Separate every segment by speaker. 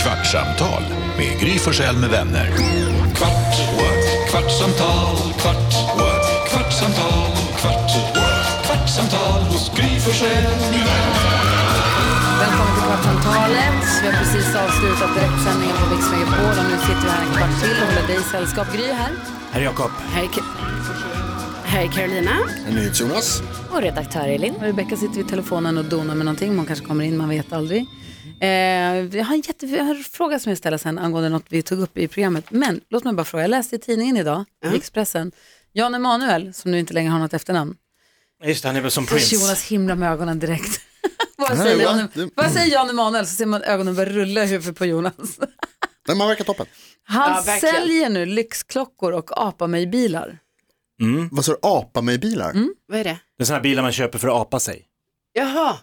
Speaker 1: Kvartsamtal med Gry Forssell med vänner.
Speaker 2: Kvart, what? kvartsamtal, kvart, what? kvartsamtal, kvart, what? kvartsamtal hos Gry Forssell med vänner.
Speaker 3: Välkommen till Kvartsamtalet. Vi har precis avslutat direktsändningen på Mix Megapol och nu sitter vi här en kvart till och håller dig sällskap. Gry här.
Speaker 4: Herr Jakob.
Speaker 3: Hej, Hej Carolina.
Speaker 4: Jonas.
Speaker 3: Och redaktör Elin. Rebecka sitter vid telefonen och donar med någonting. Man kanske kommer in, man vet aldrig. Eh, jag, har en jätte, jag har en fråga som jag ställer sen angående något vi tog upp i programmet. Men låt mig bara fråga, jag läste i tidningen idag, i Expressen, Jan Emanuel, som nu inte längre har något efternamn,
Speaker 4: Just det, han är väl som
Speaker 3: Så
Speaker 4: Prince.
Speaker 3: Jonas himla med ögonen direkt. vad,
Speaker 5: Nej,
Speaker 3: säger
Speaker 5: va?
Speaker 3: Jan,
Speaker 5: Det-
Speaker 3: vad säger Jan Emanuel så ser man ögonen börja rulla i huvudet på Jonas.
Speaker 5: Nej, man verkar toppen.
Speaker 3: Han
Speaker 6: Ja, verkligen.
Speaker 3: säljer nu lyxklockor och apamöjbilar.
Speaker 5: Vad sa du, apa mig bilar?
Speaker 6: Vad är det?
Speaker 4: Det är sådana här bilar man köper för att apa sig.
Speaker 6: Jaha.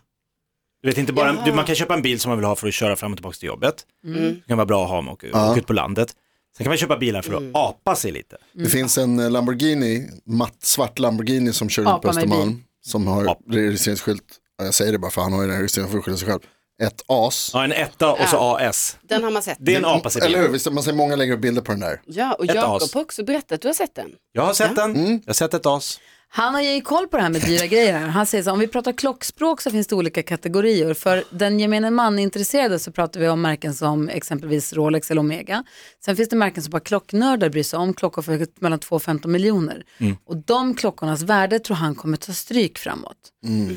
Speaker 4: Du vet inte bara,
Speaker 6: Jaha.
Speaker 4: du, man kan köpa en bil som man vill ha för att köra fram och tillbaka till jobbet.
Speaker 3: Mm.
Speaker 4: Det kan vara bra att ha om man åker,
Speaker 5: Ja.
Speaker 4: åker ut på landet. Sen kan man köpa bilar för att
Speaker 3: Mm.
Speaker 4: apa sig lite.
Speaker 5: Det finns en eh, Lamborghini, matt svart Lamborghini som kör
Speaker 3: Apa
Speaker 5: runt på
Speaker 3: mig
Speaker 5: Östermalm. Som har
Speaker 4: Apa.
Speaker 5: registreringsskylt, ja, jag säger det bara för han har ju den här registreringen för att skydda sig själv. Ett as.
Speaker 4: Ja, en etta och så AS.
Speaker 6: Den har man sett.
Speaker 4: Det är en apa sig
Speaker 5: Mm. Eller hur,
Speaker 4: bil.
Speaker 5: visst, man ser många lägger upp bilder på den där.
Speaker 6: Ja, och
Speaker 4: Ett
Speaker 6: Jakob
Speaker 4: as.
Speaker 6: har också berättat att du har sett den.
Speaker 4: Jag har sett den,
Speaker 5: Mm.
Speaker 4: jag har sett ett AS.
Speaker 3: Han har ju koll på det här med dyra grejer. här. Han säger så här, om vi pratar klockspråk så finns det olika kategorier. För den gemene man intresserade så pratar vi om märken som exempelvis Rolex eller Omega. Sen finns det märken som bara klocknördar bryr sig om, klockor för mellan 2 och 15 miljoner. Och de klockornas värde tror han kommer ta stryk framåt.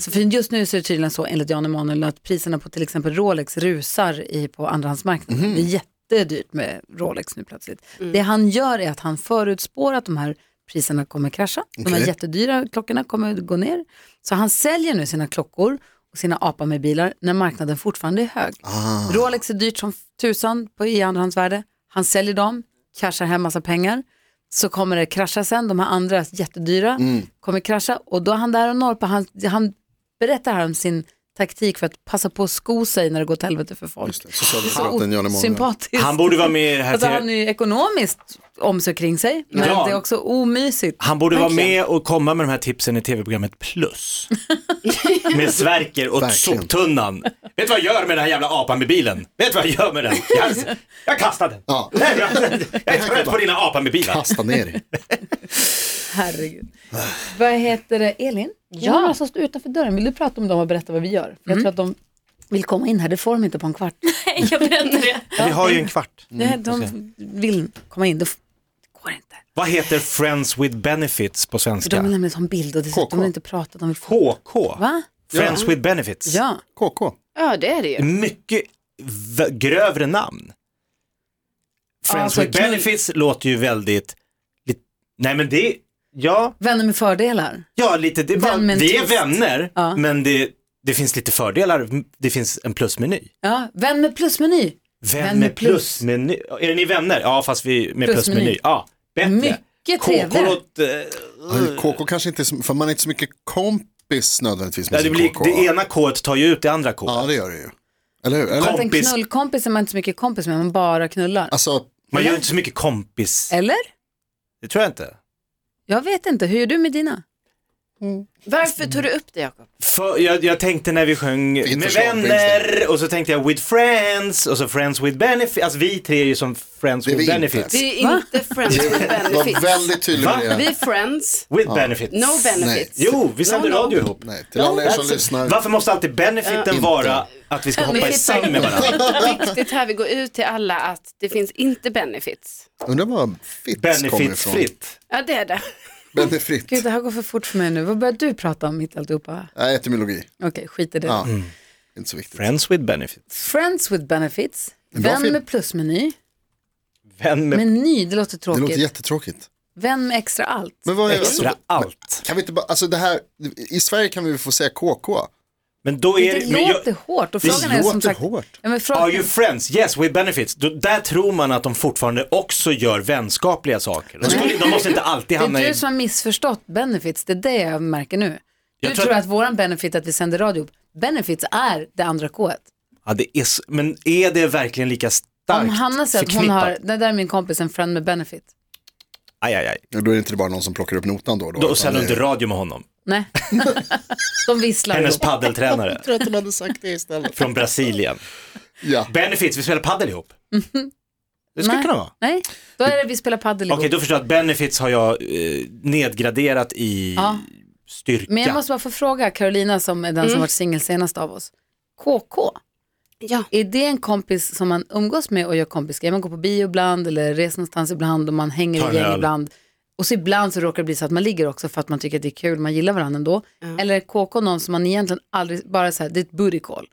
Speaker 3: Så för just nu så är det tydligen så enligt Jan Emanuel att priserna på till exempel Rolex rusar i, på andrahandsmarknaden. Det är jättedyrt med Rolex nu plötsligt. Det han gör är att han förutspår att de här priserna kommer krascha. De här
Speaker 5: Okej.
Speaker 3: jättedyra klockorna kommer gå ner. Så han säljer nu sina klockor och sina apa med bilar när marknaden fortfarande är hög. Rolex är dyrt som tusan på i andrahandsvärde. Han säljer dem, cashar hem massa pengar. Så kommer det krascha sen, de här andra jättedyra kommer krascha och då är han där och norpar. Han, han berättar här om sin taktik för att passa på att sko sig när det går till helvete för folk.
Speaker 5: Socialdemokraten Jan Emanuel.
Speaker 3: Sympatiskt.
Speaker 4: Han borde vara med i det här
Speaker 3: alltså,
Speaker 4: TV
Speaker 3: han är ju ekonomiskt om sig kring sig, men
Speaker 4: Ja.
Speaker 3: det är också omysigt.
Speaker 4: Han borde vara med och komma med de här tipsen i tv-programmet Plus. med Sverker och
Speaker 5: Verkligen.
Speaker 4: soptunnan. Vet du vad jag gör med den här jävla apan med bilen? Vet du vad jag gör med den? Jag, jag kastar den.
Speaker 5: Ja.
Speaker 4: Nej, jag, jag är trött på dina apan med bilar.
Speaker 5: Kasta ner dig.
Speaker 3: Herregud. vad heter det, Elin? Ja. Det är några som står utanför dörren. Vill du prata om dem och berätta vad vi gör? För Jag tror att de vill komma in här, det får de inte på en kvart.
Speaker 7: Jag berättar det.
Speaker 4: Vi har ju en kvart.
Speaker 3: Nej, de vill komma in, det f- går inte.
Speaker 4: Vad heter Friends with Benefits på
Speaker 3: För de vill
Speaker 4: svenska?
Speaker 3: nämligen ha en bild och dessutom
Speaker 5: KK.
Speaker 3: vill de inte prata, de vill få...
Speaker 4: KK.
Speaker 3: Va?
Speaker 4: Friends with Benefits.
Speaker 3: Ja.
Speaker 5: KK.
Speaker 6: Ja, det är det ju.
Speaker 4: Mycket v- grövre namn. Friends
Speaker 3: Alltså,
Speaker 4: with
Speaker 3: knull-
Speaker 4: Benefits låter ju väldigt... lit- Nej men det... Ja.
Speaker 3: Vänner med fördelar.
Speaker 4: Ja, lite. Det är, bara,
Speaker 3: Vän med en
Speaker 4: vi är
Speaker 3: twist.
Speaker 4: vänner,
Speaker 3: Ja.
Speaker 4: men det, det finns lite fördelar. Det finns en plusmeny.
Speaker 3: Ja, vän med plusmeny. Vän
Speaker 4: Vän,
Speaker 3: med
Speaker 4: med
Speaker 3: plus.
Speaker 4: plusmeny. Är ni vänner? Ja, fast vi med
Speaker 3: Plusmeny.
Speaker 4: plusmeny. Ja, bättre.
Speaker 3: Mycket
Speaker 4: KK
Speaker 3: trevligare.
Speaker 4: låt, eh,
Speaker 5: Ja, KK kanske inte, är så- för man är inte så mycket kompis nödvändigtvis med
Speaker 4: ja, det,
Speaker 5: sin
Speaker 4: blir,
Speaker 5: KK.
Speaker 4: det ena K tar ju ut det andra K.
Speaker 5: Ja, det gör det ju. Eller hur? Eller?
Speaker 4: Kom-
Speaker 3: En
Speaker 4: Kompis.
Speaker 3: knullkompis är man inte så mycket kompis med, man bara knullar.
Speaker 5: Alltså,
Speaker 4: Man gör ju inte så mycket kompis.
Speaker 5: Eh.
Speaker 3: Eller?
Speaker 4: Det tror jag inte.
Speaker 3: Jag vet inte, hur gör du med dina?
Speaker 6: Varför tog du upp det Jakob?
Speaker 4: För, jag, jag tänkte när vi sjöng
Speaker 5: Vilket
Speaker 4: med
Speaker 5: förslag finns
Speaker 4: vänner och så tänkte jag with friends och så friends with benefits. Alltså vi tre är ju som friends
Speaker 5: Det är
Speaker 4: with
Speaker 5: vi inte.
Speaker 4: benefits.
Speaker 6: Vi är inte friends with
Speaker 5: var
Speaker 6: benefits.
Speaker 5: väldigt tydlig
Speaker 4: Va?
Speaker 5: med
Speaker 6: Vi
Speaker 5: det.
Speaker 6: är friends,
Speaker 4: With benefits.
Speaker 6: no benefits.
Speaker 4: Jo, vi sänder
Speaker 6: No, no.
Speaker 4: radio ihop.
Speaker 5: Nej, till alla er som lyssnar.
Speaker 4: Varför måste alltid benefiten vara att vi ska hoppa i säng med varandra?
Speaker 6: Viktigt här, vi går ut till alla att det finns inte benefits.
Speaker 5: Undrar var Fitz kommer ifrån.
Speaker 4: Benefitsfritt.
Speaker 6: Ja, det är det.
Speaker 5: Benefit.
Speaker 3: Gud, det här går för fort för mig nu. Vad börjar du prata om mitt alltihopa?
Speaker 5: Nej, etymologi.
Speaker 3: Okej, skit i det.
Speaker 4: Mm.
Speaker 5: Ja. Inte så viktigt.
Speaker 4: Friends with benefits.
Speaker 3: Friends with benefits,
Speaker 5: bra
Speaker 3: vän
Speaker 5: film.
Speaker 3: med plusmeny,
Speaker 4: Vän med
Speaker 3: meny, det låter
Speaker 5: Det
Speaker 3: tråkigt.
Speaker 5: låter jättetråkigt.
Speaker 3: Vän med extra allt.
Speaker 5: Men vad är,
Speaker 4: extra
Speaker 5: alltså,
Speaker 4: allt.
Speaker 5: kan vi inte bara, alltså det här, i Sverige kan vi få säga KK.
Speaker 4: Men då är
Speaker 3: Det
Speaker 4: det... Men
Speaker 3: låter
Speaker 4: jag,
Speaker 3: hårt och
Speaker 4: Det
Speaker 3: frågan är som
Speaker 5: låter
Speaker 3: sagt...
Speaker 5: hårt.
Speaker 3: Ja, men
Speaker 4: are
Speaker 3: frågan...
Speaker 4: you friends? Yes, with benefits. Då, där tror man att de fortfarande också gör vänskapliga saker. De, skulle, de måste inte alltid hamna
Speaker 3: Det är
Speaker 4: i...
Speaker 3: du som har missförstått benefits, det är det jag märker nu. Du
Speaker 4: Jag
Speaker 3: tror,
Speaker 4: tror
Speaker 3: att våran benefit att vi sänder radio, ihop. benefits är det andra K-et.
Speaker 4: Ja, det är, s- men är det verkligen lika starkt
Speaker 3: Om Hanna säger att hon
Speaker 4: förknippat?
Speaker 3: har, det där är min kompis, en friend med benefit.
Speaker 4: Aj, aj, aj.
Speaker 5: Ja, Då är det inte bara någon som plockar upp notan då och då.
Speaker 4: Då
Speaker 5: utan
Speaker 4: sänder
Speaker 5: det
Speaker 4: hon
Speaker 5: är-
Speaker 4: inte radio med honom.
Speaker 3: Nej. De visslar
Speaker 4: Hennes
Speaker 3: ihop.
Speaker 4: paddeltränare
Speaker 5: tror att hon hade sagt det istället.
Speaker 4: från Brasilien.
Speaker 5: Ja.
Speaker 4: Benefits, vi spelar padel ihop. Det skulle
Speaker 3: Nej.
Speaker 4: kunna vara.
Speaker 3: Nej, då är det vi spelar padel
Speaker 4: Okej,
Speaker 3: ihop.
Speaker 4: då förstår jag att benefits har jag eh, nedgraderat i
Speaker 3: Ja.
Speaker 4: styrka.
Speaker 3: Men jag måste bara få fråga Carolina som är den som varit singel senast av oss. KK,
Speaker 6: Ja.
Speaker 3: är det en kompis som man umgås med och gör kompisgrejer? Man går på bio ibland eller reser någonstans ibland och man
Speaker 4: Tar
Speaker 3: hänger
Speaker 4: en
Speaker 3: i gäng
Speaker 4: öl.
Speaker 3: ibland. Och så ibland så råkar det bli så att man ligger också för att man tycker att det är kul, man gillar varandra ändå. Eller är KK någon som man egentligen aldrig, bara så här, det är ett buddy call.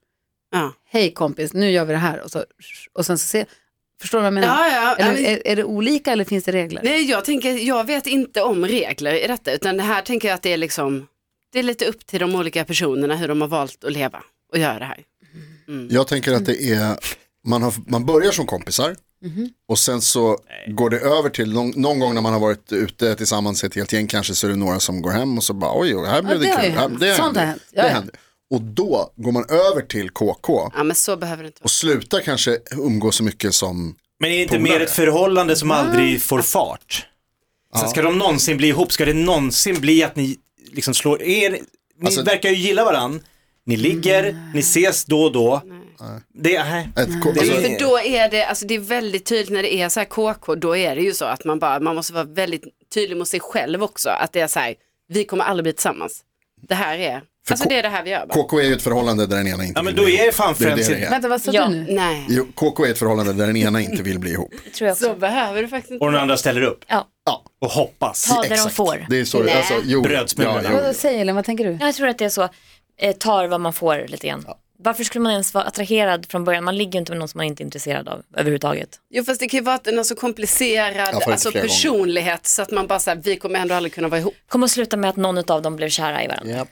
Speaker 6: Ja.
Speaker 3: Hej kompis, nu gör vi det här. Och, så, och sen så se, förstår du vad jag menar?
Speaker 6: Ja, ja, ja,
Speaker 3: eller,
Speaker 6: men-
Speaker 3: är, är det olika eller finns det regler?
Speaker 6: Nej, jag, tänker, jag vet inte om regler i detta, utan det här tänker jag att det är liksom, det är lite upp till de olika personerna hur de har valt att leva och göra det här.
Speaker 5: Jag tänker att det
Speaker 3: Mm.
Speaker 5: är, man, har, man börjar som kompisar
Speaker 3: Mhm.
Speaker 5: och sen så går det över till någon, någon gång när man har varit ute tillsammans ett helt gäng kanske så är det några som går hem och så bara oj, här blev
Speaker 3: det
Speaker 5: det
Speaker 3: har
Speaker 5: kul.
Speaker 3: ju
Speaker 5: Här-
Speaker 3: hänt. Sånt har hänt. Ja,
Speaker 5: Det
Speaker 3: ja.
Speaker 5: händer. Och då går man över till KK
Speaker 6: Ja, men så behöver det inte vara.
Speaker 5: och slutar kanske umgås så mycket som,
Speaker 4: Men är det inte mer ett förhållande som aldrig får fart? Sen ska de någonsin bli ihop, ska det någonsin bli att ni liksom slår er? Ni
Speaker 5: Alltså-
Speaker 4: verkar ju gilla varandra. Ni ligger, ni ses då och då. Det, nej.
Speaker 5: ett, K-
Speaker 4: Det
Speaker 5: alltså,
Speaker 4: är-
Speaker 6: För då är det, alltså det är väldigt tydligt när det är så här KK, då är det ju så att man bara, man måste vara väldigt tydlig mot sig själv också, att det är så här, vi kommer aldrig bli tillsammans. Det här är,
Speaker 5: För
Speaker 6: alltså
Speaker 5: K-
Speaker 6: det är det här vi gör bara.
Speaker 5: KK är ju ett förhållande där den ena inte
Speaker 4: Ja men
Speaker 5: vill
Speaker 4: då
Speaker 5: bli
Speaker 4: är
Speaker 5: ihop.
Speaker 4: fan
Speaker 5: Det är det
Speaker 4: friends
Speaker 5: det är.
Speaker 3: Vänta, vad sa
Speaker 7: Ja.
Speaker 3: du nu?
Speaker 6: Nej,
Speaker 5: Jo, KK är ett förhållande där den ena inte vill bli ihop.
Speaker 7: tror jag också.
Speaker 6: så behöver det faktiskt inte
Speaker 4: och den
Speaker 6: vara.
Speaker 4: andra ställer upp
Speaker 7: Ja.
Speaker 5: Ja,
Speaker 4: och hoppas.
Speaker 7: Ta där de
Speaker 5: exakt.
Speaker 7: får.
Speaker 5: Det är så,
Speaker 6: Nej.
Speaker 5: alltså, jo,
Speaker 4: Brödsmulorna.
Speaker 5: jo,
Speaker 3: Vad säger Elin, vad tänker du?
Speaker 7: Jag tror att det är så, eh, tar vad man får lite grann. Varför skulle man ens vara attraherad från början? Man ligger ju inte med någon som man inte är intresserad av överhuvudtaget.
Speaker 6: Jo fast det kan ju vara att den är så komplicerad,
Speaker 5: har hört
Speaker 6: alltså
Speaker 5: flera gånger.
Speaker 6: personlighet, så att man bara så här, vi kommer ändå aldrig kunna vara ihop.
Speaker 7: Kommer att sluta med att någon av dem blev kära i varandra.
Speaker 5: Ja.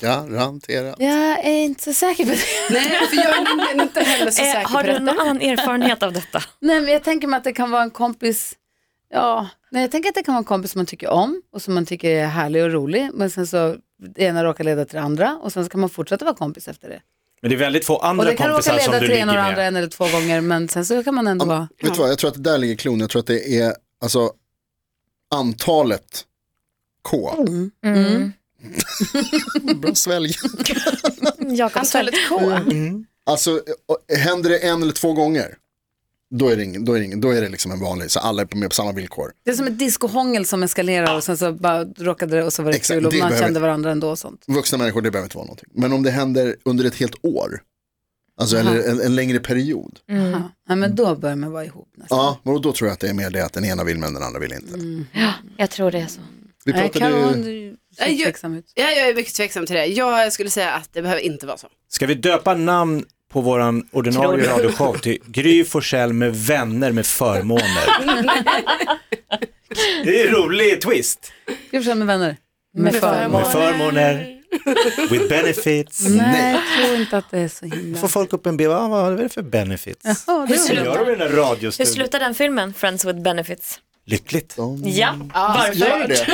Speaker 5: Garanterat.
Speaker 3: Jag är inte så säker på det.
Speaker 6: Nej, för jag är nämligen inte heller så säker
Speaker 7: Eh, har
Speaker 6: på
Speaker 7: du
Speaker 6: det.
Speaker 7: någon annan erfarenhet av detta?
Speaker 3: Nej, men jag tänker mig att det kan vara en kompis. Ja, nej, jag tänker att det kan vara en kompis som man tycker om och som man tycker är härlig och rolig. Men sen så det ena råkar leda till det andra och sen så kan man fortsätta vara kompis efter det.
Speaker 4: Men det är väldigt få
Speaker 3: Och
Speaker 4: andra
Speaker 3: det kan råka
Speaker 4: kompisar
Speaker 3: leda
Speaker 4: som du
Speaker 3: till det
Speaker 4: ligger
Speaker 3: ena och det andra
Speaker 4: med.
Speaker 3: en eller två gånger men sen så kan man ändå vara...
Speaker 5: Vet du vad, jag tror att där ligger klon. Jag tror att det är alltså antalet K.
Speaker 3: Mm,
Speaker 7: Mm.
Speaker 5: Bra svälj.
Speaker 7: Jakob,
Speaker 6: Antalet K.
Speaker 5: Alltså eh, händer det en eller två gånger, då är det, ingen, då är det, ingen, då är det liksom en vanlig, så alla är på- med på samma villkor.
Speaker 3: Det är som ett discohångel som eskalerar och sen så bara råkade det och så var det
Speaker 5: Exakt,
Speaker 3: kul och
Speaker 5: det
Speaker 3: man
Speaker 5: behöver-
Speaker 3: kände varandra ändå och sånt.
Speaker 5: Vuxna människor, det behöver inte vara någonting. Men om det händer under ett helt år, alltså eller en, en längre period,
Speaker 3: Ja, nej, men då börjar man vara ihop nästan.
Speaker 5: ja, och då tror jag att det är mer det att den ena vill men den andra vill inte.
Speaker 7: jag tror det är så.
Speaker 5: Vi
Speaker 3: Mm. Nej,
Speaker 5: pratade
Speaker 3: Karin,
Speaker 5: ju,
Speaker 3: du ser
Speaker 6: Nej, jag-
Speaker 3: tveksam ut.
Speaker 6: Ja, jag är mycket tveksam till det. Jag skulle säga att det behöver inte vara så.
Speaker 4: Ska vi döpa namn på våran ordinarie radioshow till Gry Forssell med vänner med förmåner? det är en rolig twist.
Speaker 3: Ska vi köra med vänner? Med förmån.
Speaker 4: Med förmåner, with benefits.
Speaker 3: Nej, jag tror inte att det är så himla...
Speaker 4: Får folk upp en bild, ah, vad är det för benefits?
Speaker 3: Ja, det
Speaker 7: Hur
Speaker 3: är
Speaker 4: Vad
Speaker 7: slutar,
Speaker 4: gör de i den här
Speaker 7: hur
Speaker 4: radiostudion?
Speaker 7: slutar den filmen, Friends with benefits?
Speaker 4: Lyckligt.
Speaker 7: Ja, varför?
Speaker 5: gör det?
Speaker 3: sett.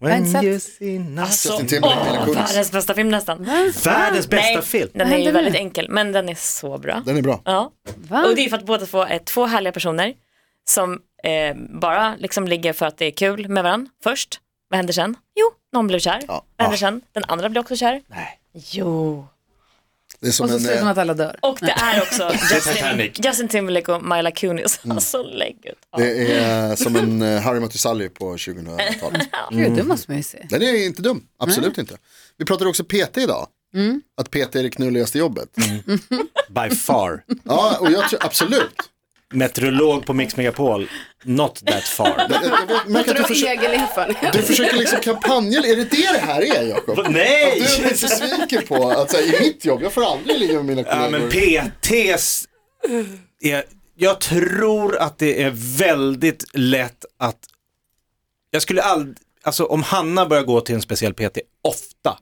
Speaker 4: When you see nothing. Alltså,
Speaker 7: Alltså,
Speaker 5: Justin Timberlake, Mila Kunis.
Speaker 7: Världens bästa film nästan.
Speaker 4: Världens bästa film.
Speaker 7: Den är ju
Speaker 3: händer
Speaker 7: väldigt enkel, men den är så bra.
Speaker 5: Den är bra.
Speaker 7: Ja.
Speaker 3: Va?
Speaker 7: Och det är för att båda två är två härliga personer som eh, bara liksom ligger för att det är kul med varandra först. Vad händer sen? Jo, någon blir kär. Vad händer sen? Den andra blir också kär. Nej. Jo.
Speaker 5: Det är som
Speaker 3: Och så
Speaker 5: en,
Speaker 3: slutar
Speaker 5: eh,
Speaker 3: man att alla dör.
Speaker 7: Och det är också Justin,
Speaker 4: Titanic. Mm.
Speaker 7: Justin Timberlake och Mila Kunis. Alltså lägg ut. Ja.
Speaker 5: Det är som en eh, Harry mötte Sally på 2000-talet.
Speaker 3: Gud,
Speaker 5: Mm.
Speaker 3: det måste man ju se.
Speaker 5: Den är inte dum, absolut inte. Vi pratade också PT idag.
Speaker 3: Mm.
Speaker 5: Att PT är det knulligaste jobbet.
Speaker 4: Mm. By far.
Speaker 5: Ja, och jag tror absolut.
Speaker 4: Meteorolog på Mix Megapol, not that far.
Speaker 5: Jag- jag- jag märker
Speaker 6: Låter
Speaker 5: att
Speaker 6: du
Speaker 5: Du,
Speaker 6: av
Speaker 5: försöker,
Speaker 6: egen erfarenhet?
Speaker 5: du försöker liksom kampanja, är det det det här är Jakob?
Speaker 4: Va-
Speaker 5: Att
Speaker 4: Nej!
Speaker 5: du är så sviker på att så här, i mitt jobb, jag får aldrig ligga med mina
Speaker 4: Ja men
Speaker 5: kollegor.
Speaker 4: PTs, är, jag tror att det är väldigt lätt att, jag skulle aldrig, alltså om Hanna börjar gå till en speciell PT ofta,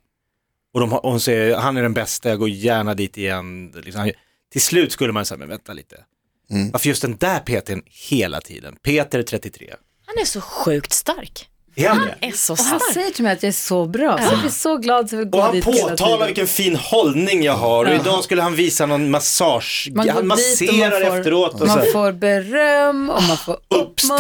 Speaker 4: och de, har- och hon säger han är den bästa, jag går gärna dit igen, liksom, han- till slut skulle man säga, men vänta lite, varför just den där PTn hela tiden? Peter 33,
Speaker 7: Han är så sjukt stark.
Speaker 4: är han det?
Speaker 7: Är så
Speaker 3: Och han
Speaker 7: stark.
Speaker 3: säger till mig att jag är så bra, så jag blir så glad så jag vill
Speaker 4: Alltså, Och
Speaker 3: gå
Speaker 4: han
Speaker 3: dit hela
Speaker 4: påtalar
Speaker 3: tiden.
Speaker 4: vilken fin hållning jag har och idag skulle han visa någon massage,
Speaker 3: Man går
Speaker 4: han
Speaker 3: dit och man
Speaker 4: masserar
Speaker 3: får-
Speaker 4: efteråt och så
Speaker 3: Man
Speaker 4: här.
Speaker 3: får beröm och man får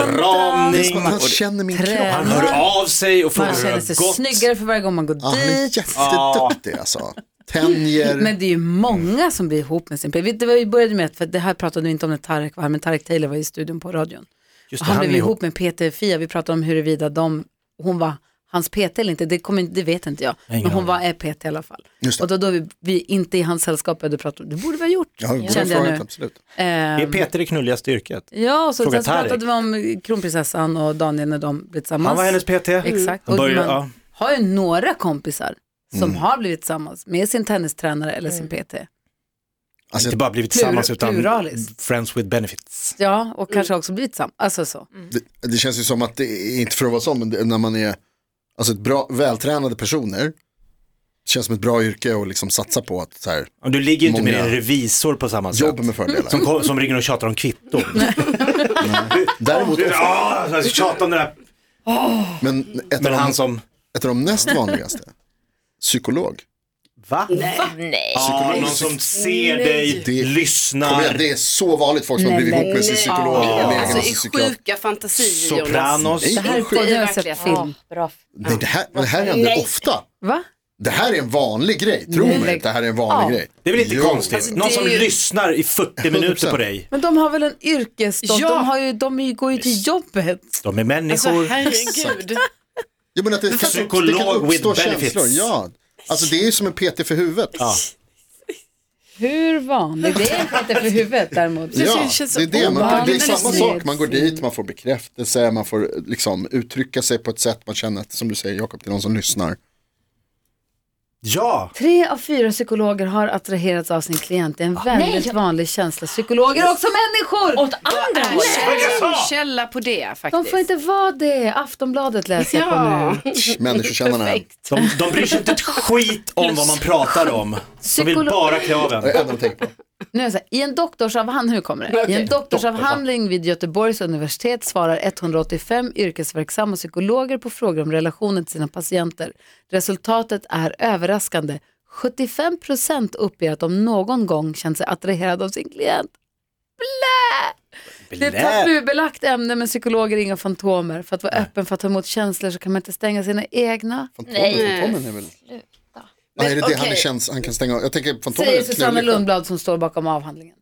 Speaker 3: uppmuntran.
Speaker 4: uppstramning.
Speaker 5: Men Han känner min
Speaker 3: Trä.
Speaker 5: kropp.
Speaker 4: Han hör av sig och
Speaker 3: Mm. Man
Speaker 4: frågar hur
Speaker 3: känner
Speaker 4: det
Speaker 3: sig
Speaker 4: har gått.
Speaker 3: snyggare för varje gång man går
Speaker 5: Ja, han är
Speaker 3: dit.
Speaker 5: jätteduktig alltså. tänjer.
Speaker 3: Men det är ju många som blir ihop med sin pojkvän. Det var ju- började med, att- för det här pratade vi inte om när Tarek var här, men Tarek Taylor var i studion på radion.
Speaker 4: Just
Speaker 3: Och
Speaker 4: det,
Speaker 3: han
Speaker 4: han
Speaker 3: blev
Speaker 4: är
Speaker 3: ihop med PT-Fia, vi pratade om huruvida de, hon var hans PT eller inte, det, kommer inte, det vet inte jag.
Speaker 4: ingen
Speaker 3: men hon var är PT i alla fall.
Speaker 5: Just det.
Speaker 3: Och då, då vi, vi inte i hans sällskap började prata om, det borde vi ha gjort.
Speaker 5: Ja, det borde
Speaker 3: kände
Speaker 5: ha
Speaker 3: jag
Speaker 5: frågat,
Speaker 3: nu.
Speaker 5: absolut.
Speaker 4: Det är
Speaker 3: Ehm,
Speaker 4: Peter i knulligaste yrket.
Speaker 3: ja, och så
Speaker 4: Fråga
Speaker 3: sen så pratade
Speaker 4: Tarek.
Speaker 3: vi om kronprinsessan och Daniel när de blev tillsammans.
Speaker 4: Han var hennes PT.
Speaker 3: Exakt,
Speaker 4: Han
Speaker 3: och
Speaker 4: började,
Speaker 3: man
Speaker 4: ja. Mm.
Speaker 3: har ju några kompisar som har blivit tillsammans med sin tennistränare eller sin PT.
Speaker 5: Alltså,
Speaker 4: Inte
Speaker 5: jag-
Speaker 4: bara blivit tillsammans utan
Speaker 3: pluraliskt.
Speaker 4: friends with benefits.
Speaker 3: Ja, och kanske också blivit tillsammans. Alltså så.
Speaker 5: det, det känns ju som att, det, är- inte för att vara sån, men det, när man är alltså, ett bra, vältränade personer, det känns som ett bra yrke att liksom satsa på att så här,
Speaker 4: Men Du ligger ju inte med
Speaker 5: Många-
Speaker 4: en revisor på samma sätt.
Speaker 5: jobb med fördelar.
Speaker 4: Som, kom- som ringer och tjatar om kvitton.
Speaker 5: Däremot,
Speaker 4: Ja, alltså, tjata om det där.
Speaker 5: men ett av,
Speaker 4: Men
Speaker 5: de,
Speaker 4: han som...
Speaker 5: ett av de näst vanligaste, psykolog.
Speaker 4: Va?
Speaker 7: Nej.
Speaker 4: Ja, någon som ser dig,
Speaker 5: Det- Kom igen,
Speaker 4: lyssnar.
Speaker 5: det är så vanligt folk som har
Speaker 3: Nej,
Speaker 5: blivit ihop med sin
Speaker 6: nej.
Speaker 5: psykolog.
Speaker 6: Ja,
Speaker 5: eller egen
Speaker 6: alltså i
Speaker 5: psykiater.
Speaker 6: sjuka fantasier Jonas.
Speaker 4: Sopranos.
Speaker 3: Alltså, Det här är
Speaker 5: Nej,
Speaker 3: på, nu har jag
Speaker 6: verkligen.
Speaker 3: sett film.
Speaker 7: bra.
Speaker 5: Nej, det här, det här händer ofta.
Speaker 3: Va?
Speaker 5: Det här är en vanlig grej, tro
Speaker 3: Nej.
Speaker 5: mig. Det här är en vanlig
Speaker 3: Ja.
Speaker 5: grej.
Speaker 4: Det är väl inte
Speaker 5: Jo.
Speaker 3: Alltså,
Speaker 4: konstigt? Någon
Speaker 6: det
Speaker 4: som
Speaker 6: är ju-
Speaker 4: lyssnar i 40 minuter på
Speaker 5: 100%.
Speaker 4: dig.
Speaker 3: Men de har väl en yrkesstolthet?
Speaker 6: Ja.
Speaker 3: De, har ju, de är ju- går ju till jobbet.
Speaker 4: De är
Speaker 6: Alltså
Speaker 4: människor.
Speaker 6: herregud.
Speaker 5: Jag menar att det, kan, det kan
Speaker 4: Psykolog
Speaker 5: uppstå
Speaker 4: with
Speaker 5: känslor.
Speaker 4: benefits.
Speaker 5: Ja. Alltså det är ju som en PT för huvudet. Ja,
Speaker 3: Hur vanligt? Det är inte för huvudet däremot.
Speaker 5: det,
Speaker 6: det känns så
Speaker 5: är det. Man, det är
Speaker 3: ovanligt.
Speaker 5: samma
Speaker 3: Det är
Speaker 5: sak, man går dit, man får bekräftelse, man får liksom uttrycka sig på ett sätt man känner att, som du säger Jakob, det är någon som lyssnar.
Speaker 4: Ja.
Speaker 3: Tre av fyra psykologer har attraherats av sin klient. Det är en väldigt vanlig känsla. Psykologer är också människor!
Speaker 7: Åt andra hållet.
Speaker 6: Jag är källa på det
Speaker 3: De får
Speaker 6: faktiskt.
Speaker 3: inte vara det. Aftonbladet läser jag på
Speaker 6: Ja,
Speaker 3: nu.
Speaker 5: Människokännarna. här.
Speaker 6: perfekt.
Speaker 4: De, de bryr sig inte ett skit om vad man pratar om. De vill
Speaker 3: Psykolog-
Speaker 4: bara
Speaker 5: Det
Speaker 4: kraven.
Speaker 5: är det enda de tänker på.
Speaker 3: Nu är det så här, I en doktorsavhandling, hur kommer det? I en doktorsavhandling vid Göteborgs universitet svarar 185 yrkesverksamma psykologer på frågor om relationen till sina patienter. Resultatet är överraskande. 75 procent uppger att de någon gång känt sig attraherade av sin klient. Blä! Det är ett tabubelagt ämne men psykologer är inga fantomer. För att vara öppen för att ta emot känslor så kan man inte stänga sina egna.
Speaker 5: Fantomen, Fantomen är väl... Nej, är det det han,
Speaker 6: okej.
Speaker 5: känns, han kan stänga av? Jag tänker Fantomen är
Speaker 3: Säger
Speaker 5: ett
Speaker 3: Susanne
Speaker 5: knulligt-
Speaker 3: Lundblad som står bakom avhandlingen.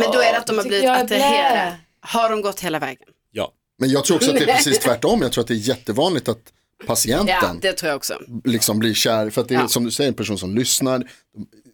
Speaker 6: Men då är det att de har
Speaker 3: Tycker
Speaker 6: blivit
Speaker 3: jag är blä.
Speaker 6: attraherade. Har de gått hela vägen?
Speaker 4: Ja.
Speaker 5: Men jag tror också att det är precis tvärtom. Jag tror att det är jättevanligt att
Speaker 6: Ja,
Speaker 5: patienten
Speaker 6: det tror jag också.
Speaker 5: liksom blir kär. För att det är
Speaker 6: Ja.
Speaker 5: som du säger en person som lyssnar.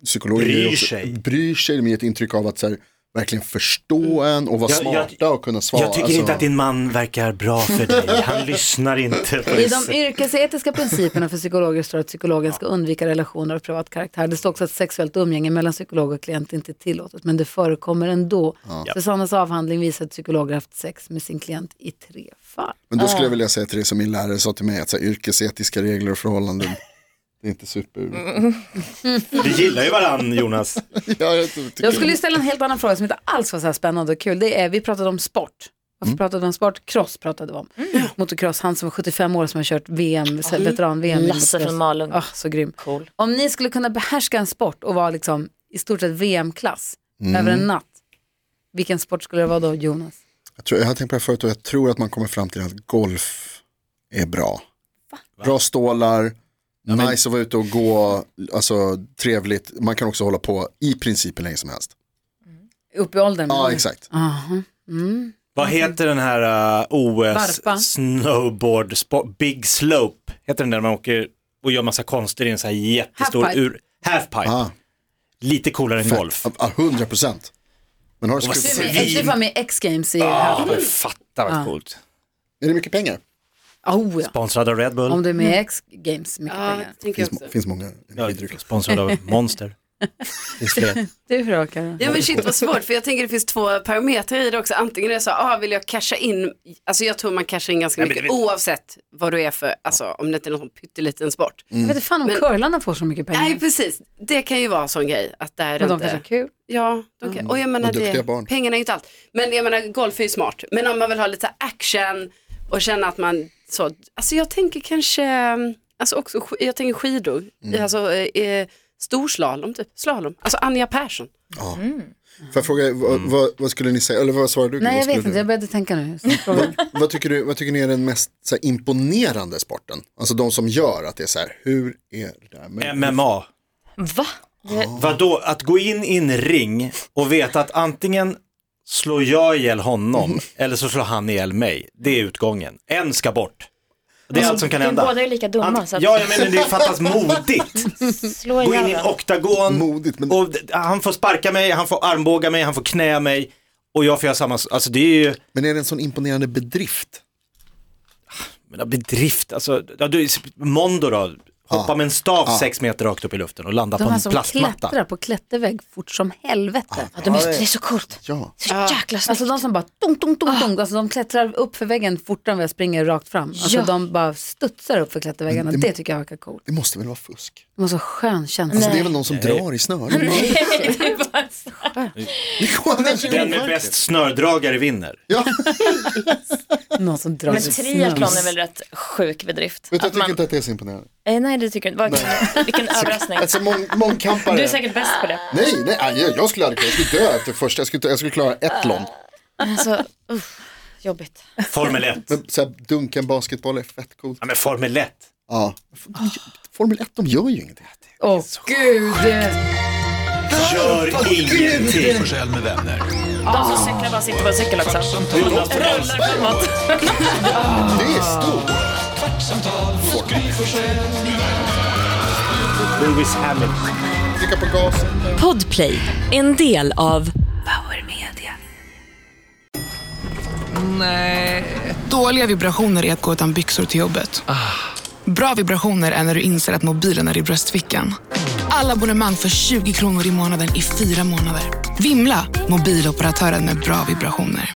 Speaker 5: Psykologer
Speaker 4: Bryr
Speaker 5: ger också,
Speaker 4: sig.
Speaker 5: Bryr sig, de ger ett intryck av att så här, verkligen förstå en och vara
Speaker 4: Jag- jag-
Speaker 5: smarta och kunna svara.
Speaker 4: Jag tycker
Speaker 5: Alltså,
Speaker 4: inte att din man verkar bra för dig. Han lyssnar inte på
Speaker 3: I
Speaker 4: dig.
Speaker 3: de yrkesetiska principerna för psykologer står att psykologen ska undvika relationer av privat karaktär. Det står också att sexuellt umgänge mellan psykolog och klient inte är tillåtet, men det förekommer ändå. Susannas avhandling visar att psykologer haft sex med sin klient i tre fall.
Speaker 5: Men då skulle jag vilja säga till det som min lärare sa till mig, att så här, yrkesetiska regler och förhållanden, det är inte super.
Speaker 3: Mm.
Speaker 4: Vi gillar ju varann Jonas.
Speaker 5: Ja, jag tycker-
Speaker 3: Jag skulle ju ställa en helt annan fråga som inte alls var så här spännande och kul. Det är, vi pratade om sport. Varför
Speaker 5: Mm.
Speaker 3: pratade vi om sport? Cross pratade vi om. Motocross, han som var 75 år som har kört VM, så- veteran-VM. i
Speaker 7: Lasse
Speaker 3: motocross.
Speaker 7: från Malung.
Speaker 3: Ah, så grym.
Speaker 7: Cool.
Speaker 3: Om ni skulle kunna behärska en sport och vara liksom i stort sett VM-klass
Speaker 5: Mm.
Speaker 3: över en natt, vilken sport skulle det vara då Jonas?
Speaker 5: Jag, tror, jag har tänkt på det här förut och jag tror att man kommer fram till att golf är bra. Bra stålar, nice att vara ute och gå, alltså trevligt. Man kan också hålla på i princip hur länge som helst.
Speaker 3: Upp i åldern?
Speaker 5: Ja,
Speaker 3: men-
Speaker 5: exakt.
Speaker 3: Aha. Mm.
Speaker 4: Vad heter den här uh, OS
Speaker 3: Varpa.
Speaker 4: snowboard spo- Big Slope? Heter den där man åker och gör massa konster i en så här jättestor
Speaker 3: Halfpipe.
Speaker 4: ur halfpipe.
Speaker 5: Ah,
Speaker 4: Lite coolare än golf.
Speaker 5: fett. Ah, 100 procent. Men har du
Speaker 4: Och
Speaker 5: skruv...
Speaker 4: se-
Speaker 3: Jag skulle vara med i X-games i här.
Speaker 4: Men Fatta
Speaker 3: Ah.
Speaker 4: vad coolt.
Speaker 5: Är det mycket pengar? Ah.
Speaker 3: Oh, ja.
Speaker 4: Sponsrad av Red Bull.
Speaker 3: Om du är med i X-games, mycket
Speaker 6: Ja,
Speaker 3: pengar.
Speaker 6: det tänker
Speaker 5: Det
Speaker 6: jag
Speaker 5: finns,
Speaker 6: också.
Speaker 5: finns många
Speaker 4: Ja,
Speaker 5: energidrycker.
Speaker 4: Sponsrad av Monster. Det finns fler.
Speaker 3: Du då
Speaker 5: Mm.
Speaker 3: Karin?
Speaker 6: Ja men shit vad svårt för jag tänker det finns två parametrar i det också. Antingen är det så, ah, vill jag casha in, alltså jag tror man cashar in ganska
Speaker 4: Nej, men
Speaker 6: mycket
Speaker 4: det-
Speaker 6: oavsett vad du är för, alltså om det inte är någon sån pytteliten sport.
Speaker 3: Jag vet inte fan om
Speaker 6: Men-
Speaker 3: curlarna får så mycket pengar.
Speaker 6: Nej precis, det kan ju vara en sån grej att där är
Speaker 3: men
Speaker 6: det
Speaker 3: de kanske har
Speaker 6: inte.
Speaker 3: kul.
Speaker 6: Ja, de kan, och jag menar
Speaker 5: Och duktiga barn.
Speaker 6: det, pengarna är ju inte allt. Men jag menar golf är ju smart, men om man vill ha lite action och känna att man så, alltså jag tänker kanske, alltså också, sk- jag tänker skidor,
Speaker 5: Mm.
Speaker 6: alltså eh, eh, storslalom typ, slalom, alltså Anja Persson.
Speaker 5: Får jag fråga, vad, vad, vad skulle ni säga, eller vad svarar du?
Speaker 3: Nej
Speaker 5: Vad
Speaker 3: jag
Speaker 5: skulle
Speaker 3: vet inte,
Speaker 5: du-
Speaker 3: jag började tänka nu. Så frågan.
Speaker 5: Vad tycker, du, vad tycker ni är den mest så här, imponerande sporten? Alltså de som gör att det är så här, hur är det där möjligt?
Speaker 4: MMA.
Speaker 7: Va?
Speaker 4: Vadå, att gå in i en ring och veta att antingen slår jag ihjäl honom eller så slår han ihjäl mig. Det är utgången. En ska bort. Det är allt som kan
Speaker 7: Det är
Speaker 4: hända.
Speaker 7: Alltså, båda är lika dumma.
Speaker 4: Ant-
Speaker 7: så att
Speaker 4: Ja, jag menar det fattas modigt.
Speaker 7: slå
Speaker 4: Gå in
Speaker 7: ihjäl
Speaker 4: i en
Speaker 7: varandra.
Speaker 4: oktagon.
Speaker 5: Modigt, men-
Speaker 4: och d- han får sparka mig, han får armbåga mig, han får knä mig och jag får göra samma. s- Alltså det är ju,
Speaker 5: Men är det en sån imponerande bedrift?
Speaker 4: men bedrift, alltså, ja, du, Mondo då, hoppa
Speaker 5: Ja.
Speaker 4: med en stav sex meter rakt upp i luften och landa
Speaker 3: De
Speaker 4: på
Speaker 3: här
Speaker 4: en
Speaker 3: som
Speaker 4: plastmatta.
Speaker 3: klättrar på klättervägg fort som helvete.
Speaker 7: Ah, Ja, de är, det är så coolt.
Speaker 5: Ja.
Speaker 7: Så jäkla snyggt.
Speaker 3: Alltså de som bara tung, tung, tung, tung. Alltså de klättrar upp för väggen fortare än vad jag springer rakt fram. Alltså
Speaker 7: Ja.
Speaker 3: de bara studsar upp för klätterväggarna. Det tycker jag verkar coolt.
Speaker 5: Det måste väl vara fusk?
Speaker 3: De har så skön känsla.
Speaker 5: Alltså, det är väl någon som drar i snören? Nej.
Speaker 7: Det är bara så-
Speaker 4: Den med bäst snördragare vinner.
Speaker 5: Ja,
Speaker 3: Någon som drar
Speaker 7: Men
Speaker 3: sig
Speaker 7: triathlon
Speaker 3: snabbt.
Speaker 7: är väl rätt sjuk bedrift?
Speaker 5: Alltså, vet du, jag
Speaker 7: Att man,
Speaker 5: tycker inte att det är så imponerande.
Speaker 7: eh, nej, det tycker jag inte. Vad- Vilken överraskning.
Speaker 5: Alltså mång, mångkampare.
Speaker 7: Du är säkert bäst på det.
Speaker 5: Nej, nej, aj, jag jag skulle aldrig klara, jag skulle dö efter första, jag skulle, inte- jag skulle klara ett långt.
Speaker 7: Alltså, uff, jobbigt.
Speaker 4: Formel 1.
Speaker 5: Men så här, dunka en basketboll är fett coolt.
Speaker 4: Ja men Formel 1.
Speaker 5: Ja.
Speaker 7: Ah.
Speaker 5: Formel 1, de gör ju ingenting.
Speaker 3: Åh gud.
Speaker 4: Gör
Speaker 1: Gry
Speaker 4: ingenting.
Speaker 1: Forssell med vänner.
Speaker 7: De som cyklar bara sitter på en cykel också.
Speaker 4: Jonas Brost.
Speaker 7: Rullar framåt.
Speaker 5: Det är stort.
Speaker 2: Kvartsamtal hos Gry Forssell med
Speaker 4: Lewis Hamilton.
Speaker 5: Trycka på gasen.
Speaker 8: Podplay, en del av
Speaker 9: eh, Dåliga vibrationer är att gå utan byxor till jobbet. Bra vibrationer är när du inser att mobilen är i bröstfickan. Alla abonnemang för 20 kronor i månaden i fyra månader. Vimla! Mobiloperatören med bra vibrationer.